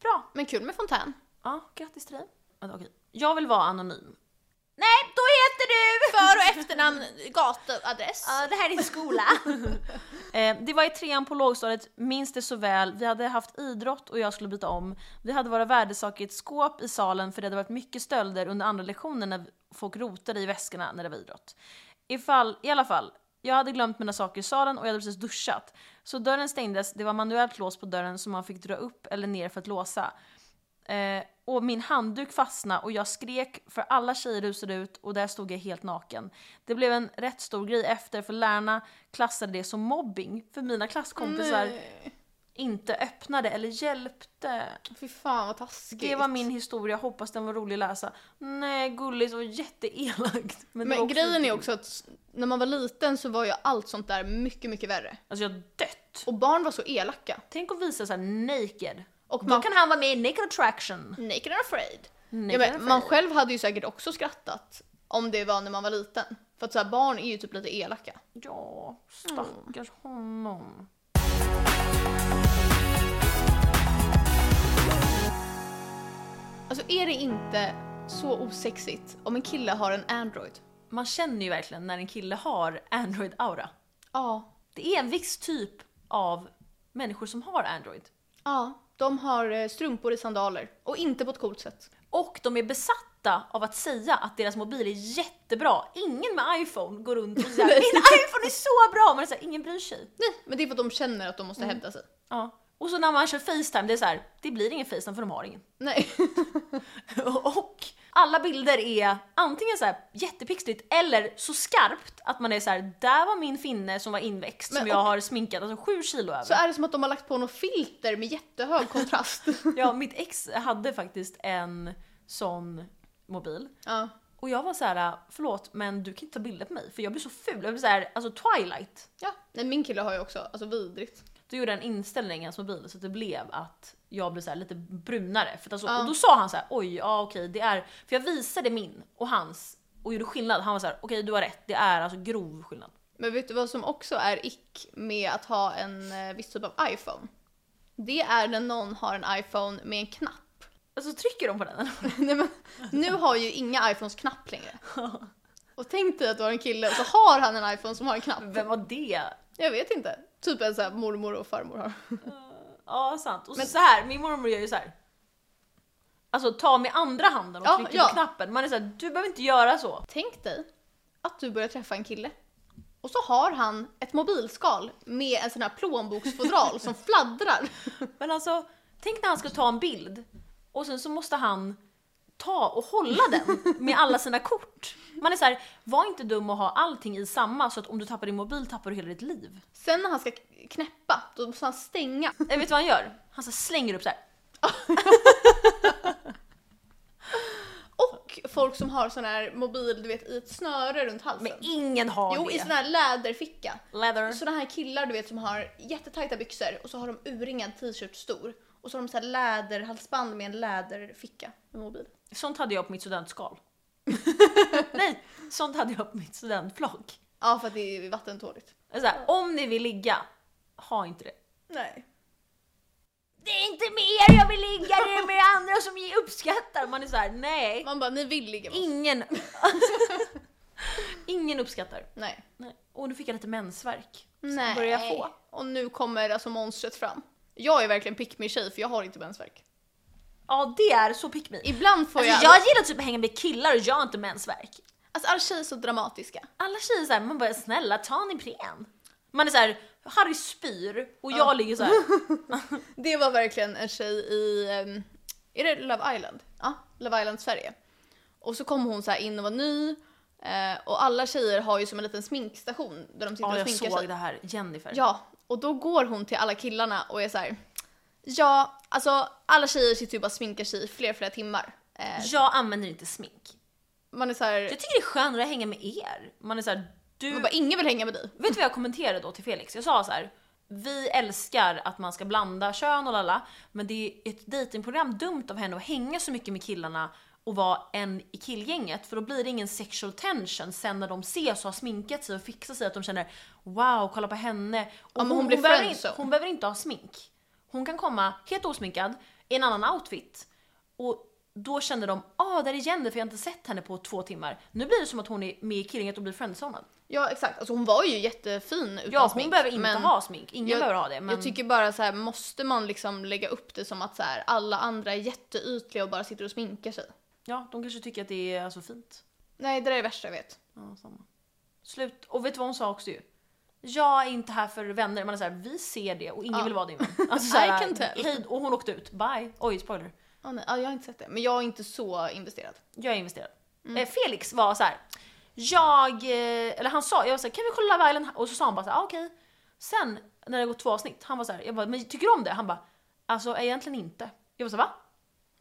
A: Bra,
B: Men kul med fontän.
A: ja, grattis till dig. Vänta, okej. Jag vill vara anonym. Nej, då heter du!
B: För och efternamn, gatuadress.
A: Ja, det här är din skola. eh, det var i trean på lågstadiet, minns det så väl. Vi hade haft idrott och jag skulle byta om. Vi hade våra värdesaker i ett skåp i salen för det hade varit mycket stölder under andra lektioner när folk rotade i väskorna när det var idrott. Ifall, I alla fall, jag hade glömt mina saker i salen och jag hade precis duschat. Så dörren stängdes, det var manuellt lås på dörren som man fick dra upp eller ner för att låsa. Eh, och min handduk fastnade och jag skrek för alla tjejer rusade ut och där stod jag helt naken. Det blev en rätt stor grej efter för lärarna klassade det som mobbing för mina klasskompisar
B: Nej.
A: inte öppnade eller hjälpte.
B: Fy fan vad taskigt.
A: Det var min historia, hoppas den var rolig att läsa. Nej, gulligt och jätteelakt. det var
B: Men
A: också typ,
B: grejen är
A: kul.
B: också att s- när man var liten så var ju allt sånt där mycket, mycket värre.
A: Alltså jag har dött.
B: Och barn var så elaka.
A: Tänk att visa såhär naked.
B: Och
A: Då
B: man,
A: kan han vara med i Naked Attraction.
B: naked and afraid.
A: Naked
B: Ja, men, man
A: Afraid.
B: själv hade ju säkert också skrattat om det var när man var liten. För att så här, barn är ju typ lite elaka.
A: Ja, stackars honom.
B: Alltså är det inte så osexigt om en kille har en Android?
A: Man känner ju verkligen när en kille har Android-aura.
B: Ja.
A: Det är en viss typ av människor som har Android.
B: Ja. De har eh, strumpor i sandaler. Och inte på ett coolt sätt.
A: Och de är besatta av att säga att deras mobil är jättebra. Ingen med iPhone går runt och säger min iPhone är så bra! Men det är så här, ingen bryr sig.
B: Mm. Nej, men det är för att de känner att de måste hävda sig.
A: Ja. Och så när man kör Facetime, det är så här, det blir ingen Facetime för de har ingen.
B: Nej.
A: Och alla bilder är antingen så här jättepixligt eller så skarpt att man är så här, där var min finne som var inväxt
B: Men
A: som jag
B: och-
A: har sminkat, alltså sju kilo över.
B: Så är det som att de har lagt på något filter med jättehög kontrast.
A: Ja, mitt ex hade faktiskt en sån mobil.
B: ja.
A: Och jag var så här: förlåt men du kan inte ta bilder på mig för jag blir så ful. Jag blir såhär, alltså Twilight.
B: ja. Nej, min kille har ju också, alltså vidrigt.
A: Då gjorde jag en inställning i hans mobil så att det blev att jag blev så här lite brunare. För att alltså,
B: Ja.
A: Och då sa han så här: oj, ja okej det är... För jag visade min och hans och gjorde skillnad. Han var så här: okej du har rätt, det är alltså grov skillnad.
B: Men vet du vad som också är ick med att ha en eh, viss typ av iPhone? Det är när någon har en iPhone med en knapp.
A: Alltså trycker de på den?
B: Nej, men, nu har ju inga iPhones knapp längre. Och tänk dig att du har en kille och så har han en iPhone som har en knapp.
A: Vem var det?
B: Jag vet inte. Typ en sån här mormor och farmor har.
A: Ja sant. Och så, så här, min mormor gör ju så här. Alltså ta med andra handen och
B: Ja,
A: trycker
B: ja.
A: på knappen. Man är såhär, du behöver inte göra så.
B: Tänk dig att du börjar träffa en kille och så har han ett mobilskal med en sån här plånboksfodral som fladdrar.
A: Men alltså, tänk när han ska ta en bild och sen så måste han ta och hålla den med alla sina kort. Man är så här, var inte dum och ha allting i samma så att om du tappar din mobil tappar du hela ditt liv.
B: Sen när han ska knäppa, då måste han stänga.
A: Äh, vet du vad han gör? Han så här slänger upp så här.
B: Och folk som har sån här mobil, du vet, i ett snöre runt halsen.
A: Men ingen har
B: Alltså. Jo,
A: det.
B: i sån här läderficka.
A: Leather.
B: Såna här killar du vet som har jättetajta byxor och så har de urringad t-shirt stor. Och så har de så här läderhalsband med en läderficka med mobil.
A: Sånt hade jag på mitt studentskal. Nej, sånt hade jag på mitt studentflagg.
B: Ja, för att det är vattentåligt.
A: Alltså, Så här, om ni vill ligga, ha inte det.
B: Nej.
A: Det är inte med er jag vill ligga, det är med andra som ni uppskattar. Man är så här, nej.
B: Man bara, ni vill ligga med oss.
A: Ingen... Ingen uppskattar.
B: Nej.
A: Nej. Och nu fick jag lite mensvärk.
B: Nej.
A: börjar jag få.
B: Och nu kommer alltså monstret fram. Jag är verkligen pick me tjej för jag har inte mensvärk.
A: Ja, det är så pick me.
B: Ibland får
A: Alltså,
B: jag...
A: jag gillar typ att hänga med killar och jag har inte mensvärk.
B: Alltså alla tjejer är så dramatiska.
A: Alla tjejer såhär, man bara snälla ta en Ipren. Man är såhär, Harry spyr och jag ligger såhär.
B: Det var verkligen en tjej i, ehm, är det Love Island? Ja, Love Island Sverige. Och så kom hon så här in och var ny. eh, Och alla tjejer har ju som en liten sminkstation där de sitter
A: Ja,
B: och
A: jag
B: sminkar
A: såg
B: sig.
A: det här. Jennifer.
B: Ja, och då går hon till alla killarna och är så här. Ja, alltså alla tjejer sitter ju bara och sminkar sig i fler flera timmar. Eh,
A: Jag använder inte smink.
B: Man är så här,
A: Jag tycker det är skönare att hänga med er. Man är såhär, du...
B: man bara ingen vill hänga med dig.
A: Vet du vad jag kommenterade då till Felix? Jag sa så här. Vi älskar att man ska blanda kön och lalla, men det är ett datingprogram dumt av henne att hänga så mycket med killarna och vara en i killgänget för då blir det ingen sexual tension sen när de ses och har sminkat sig och fixat sig att de känner wow, kolla på henne. Och
B: men hon blir
A: behöver, inte,
B: friendzone.
A: hon behöver inte ha smink. Hon kan komma helt osminkad i en annan outfit och då kände de ah, där är Jennifer, jag har inte sett henne på två timmar. Nu blir det som att hon är med i killgänget och blir friendzonad.
B: Ja exakt, alltså hon var ju jättefin utan
A: Ja, hon
B: smink,
A: behöver inte
B: men
A: ha smink. Ingen
B: jag,
A: behöver ha det. Men
B: Jag tycker bara så här, måste man liksom lägga upp det som att så här, alla andra är jätteytliga och bara sitter och sminkar sig?
A: ja, de kanske tycker att det är alltså, fint.
B: Nej, det där är det värsta jag vet.
A: Ja, samma. Slut. Och vet du vad hon sa också ju? Jag är inte här för vänner. Man är såhär, vi ser det och ingen
B: Ja.
A: vill vara din vän. Alltså, såhär,
B: I can tell.
A: Hej, och hon åkte ut. Bye. Oj, spoiler.
B: Ja, nej, ja, jag har inte sett det, men jag är inte så investerad.
A: Jag är investerad. Eh, Felix var så här. jag, eh, eller han sa, jag var såhär, kan vi kolla Love Island? Och så sa han bara såhär, ah, okej. Sen när det gått två avsnitt, han var såhär, jag bara, men tycker du om det? Han bara, alltså egentligen inte. Jag var såhär, va?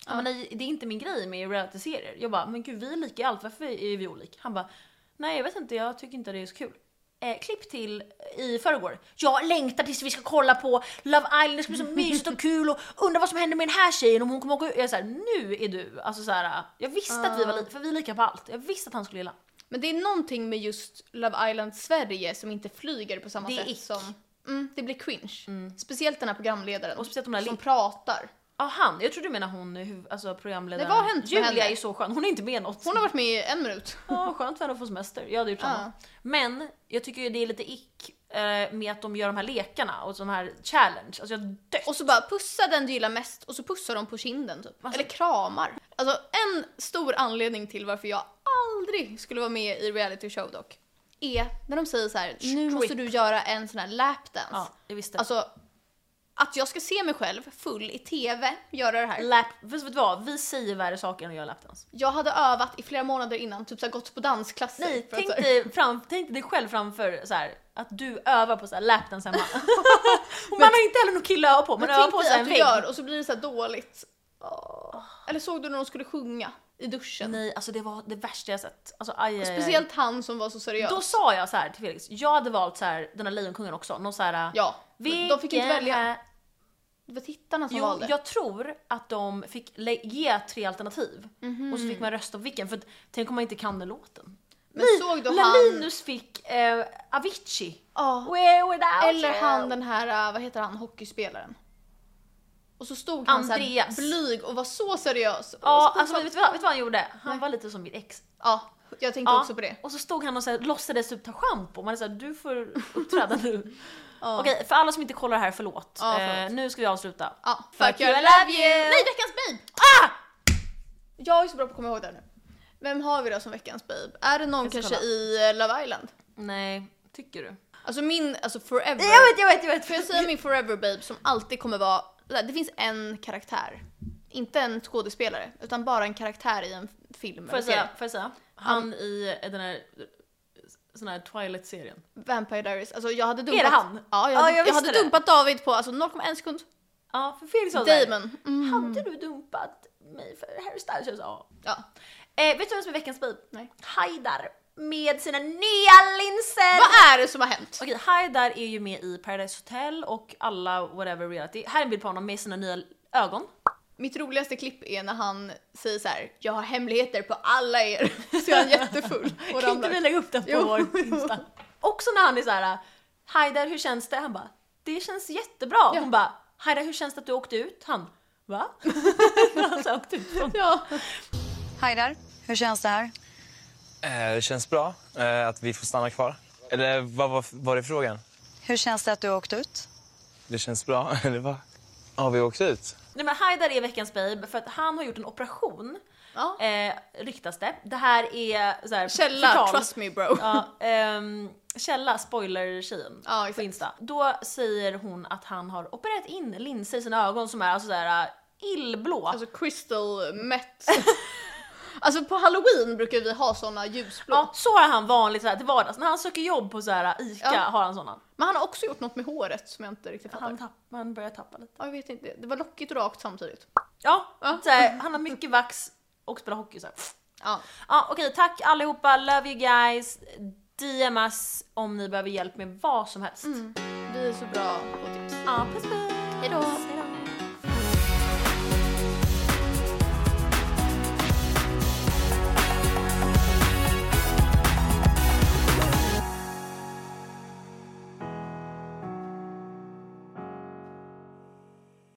A: Ja. Men nej, det är inte min grej med realityserier. Jag bara, men gud vi är lika i allt, varför är vi olika? Han bara, nej jag vet inte, jag tycker inte det är så kul. Eh, klipp till i förrgår. Jag längtar tills vi ska kolla på Love Island, det ska bli så mysigt och kul och undrar vad som händer med den här tjejen om hon kommer åka ut. Jag är såhär, nu är du, alltså såhär, jag visste att vi var lika, för vi är lika på allt. Jag visste att han skulle gilla.
B: Men det är någonting med just Love Island Sverige som inte flyger på samma
A: Det är
B: sätt
A: ick.
B: som... Mm, det blir cringe. Mm. Speciellt den här programledaren
A: Och speciellt de där
B: som
A: link-
B: pratar.
A: Ja han, jag tror du menar hon, huv- alltså programledaren.
B: Nej, vad har hänt med henne?
A: Julia är ju så skön, hon är inte med i något.
B: Hon har varit med i en minut.
A: Ja, skönt för henne att få semester. Jag hade gjort samma.
B: Ja.
A: Men jag tycker ju det är lite ick eh, med att de gör de här lekarna och de här challenge. Alltså jag dött.
B: Och så bara pussa den du gillar mest och så pussar de på kinden typ.
A: Alltså-
B: Eller kramar. Alltså en stor anledning till varför jag aldrig skulle vara med i reality show dock. Är när de säger så här: nu måste du göra en sån här lapdance.
A: typ. Ja, jag visste.
B: Alltså Att jag ska se mig själv full i TV göra det här.
A: Lap, vet du vad? Vi säger värre saker än att göra lapdance.
B: Jag hade övat i flera månader innan, typ så här, gått på dansklasser.
A: Nej,
B: för att
A: tänk
B: så här-
A: dig, fram, tänk dig själv framför så här, att du övar på så här lapdance hemma. Och man har inte heller någon kille att öva på, man
B: Men
A: övar
B: tänk
A: på så
B: dig
A: här en
B: att du
A: vägg.
B: gör och så blir det så här dåligt. Åh. Eller såg du när de skulle sjunga i duschen?
A: Nej, alltså det var det värsta jag sett. Alltså, aj, aj, aj.
B: Speciellt han som var så seriös.
A: Då sa jag så här till Felix, jag hade valt så här, den här Lejonkungen också, någon så här...
B: ja, men de fick inte
A: vilken
B: välja.
A: är-
B: Det var tittarna som
A: Jo,
B: valde.
A: jag tror att de fick lä- ge tre alternativ. Och så fick man rösta på vilken, för att, tänk om man inte kan den låten.
B: Men såg du han...
A: Lalinus fick eh, Avicii.
B: Ja.
A: Where would I
B: Eller
A: go?
B: han den här, äh, vad heter han, hockeyspelaren? Och så stod han såhär
A: Andreas.
B: blyg och var så seriös.
A: Ja,
B: Och så-
A: alltså vet du, vad, vet du vad han gjorde? Han var lite som mitt ex.
B: ja jag tänkte
A: Ja,
B: också på det.
A: Och så stod han och så här, låtsades typ ta schampo. Man är såhär, du får uppträda nu. Okej, för alla som inte kollar här, förlåt.
B: Ja, förlåt.
A: Eh, nu ska vi avsluta.
B: Ja.
A: Fuck you, I love you!
B: Nej, veckans babe!
A: Ah!
B: Jag är så bra på att komma ihåg det här nu. Vem har vi då som veckans babe? Är det någon
A: Jag ska
B: kanske
A: kolla.
B: i eh, Love Island?
A: Nej, tycker du?
B: Alltså min, alltså forever.
A: Jag vet, jag vet, jag vet!
B: Får jag säga min forever babe som alltid kommer vara, det finns en karaktär. Inte en skådespelare, utan bara en karaktär i en film.
A: Får jag
B: eller serie.
A: säga, får jag säga? Han i den här, sån här Twilight-serien.
B: Vampire Diaries. Alltså jag hade dumpat...
A: Är det han?
B: Ja, jag
A: Ja,
B: hade,
A: jag
B: jag
A: visste
B: hade
A: det.
B: dumpat David på alltså 0,1 sekund.
A: Ja, för Felix sa såhär,
B: Damon. Mm.
A: hade du dumpat mig för Harry Styles? Jag sa
B: Ja.
A: ja. Eh, vet du vem som är veckans babe?
B: Nej.
A: Haidar med sina nya linser!
B: Vad är det som har hänt?
A: Okej, Haidar är ju med i Paradise Hotel och alla whatever reality. Här är en bild på honom med sina nya ögon.
B: Mitt roligaste klipp är när han säger så här: jag har hemligheter på alla er. Så jag är jättefull och
A: kan inte vi
B: ramlar.
A: lägga upp den på
B: Jo.
A: vår Insta? Också när han är så här: Haidar hur känns det? Han bara, det känns jättebra. Hon bara, Haidar hur känns det att du åkte ut? Han, va? han så här, åkte ut från
B: Ja.
D: Haidar, hur känns det här?
E: Eh, Det känns bra eh, att vi får stanna kvar. Eller vad var, var det frågan?
D: Hur känns det att du har åkt ut?
E: Det känns bra, eller vad? Har vi åkt ut?
A: Nej men Haidar är veckans babe för att han har gjort en operation.
B: Ja.
A: Eh, ryktas det. Det här är så här,
B: Källa,
A: förtal.
B: trust me bro.
A: Ja, ehm, källa, spoiler-tjejen
B: Ja,
A: på
B: exakt.
A: Insta. Då säger hon att han har opererat in linser i sina ögon som är alltså såhär äh, illblå.
B: Alltså crystal met. Alltså på halloween brukar vi ha såna ljusblå.
A: ja, så har han vanligt såhär till vardags. När han söker jobb på såhär äh, ICA
B: Ja.
A: har han sådana.
B: Men han har också gjort något med håret som jag inte riktigt fattar.
A: Han, tapp, han börjar tappa lite.
B: Ja, jag vet inte, det var lockigt och rakt samtidigt.
A: Ja, såhär, han har mycket vax och spelar hockey såhär.
B: Ja.
A: Ja, okej, tack allihopa, love you guys. DM us
B: Mm.
A: om ni behöver hjälp med vad som helst.
B: Vi är så bra på tips.
A: Ja, puss puss!
B: Hejdå.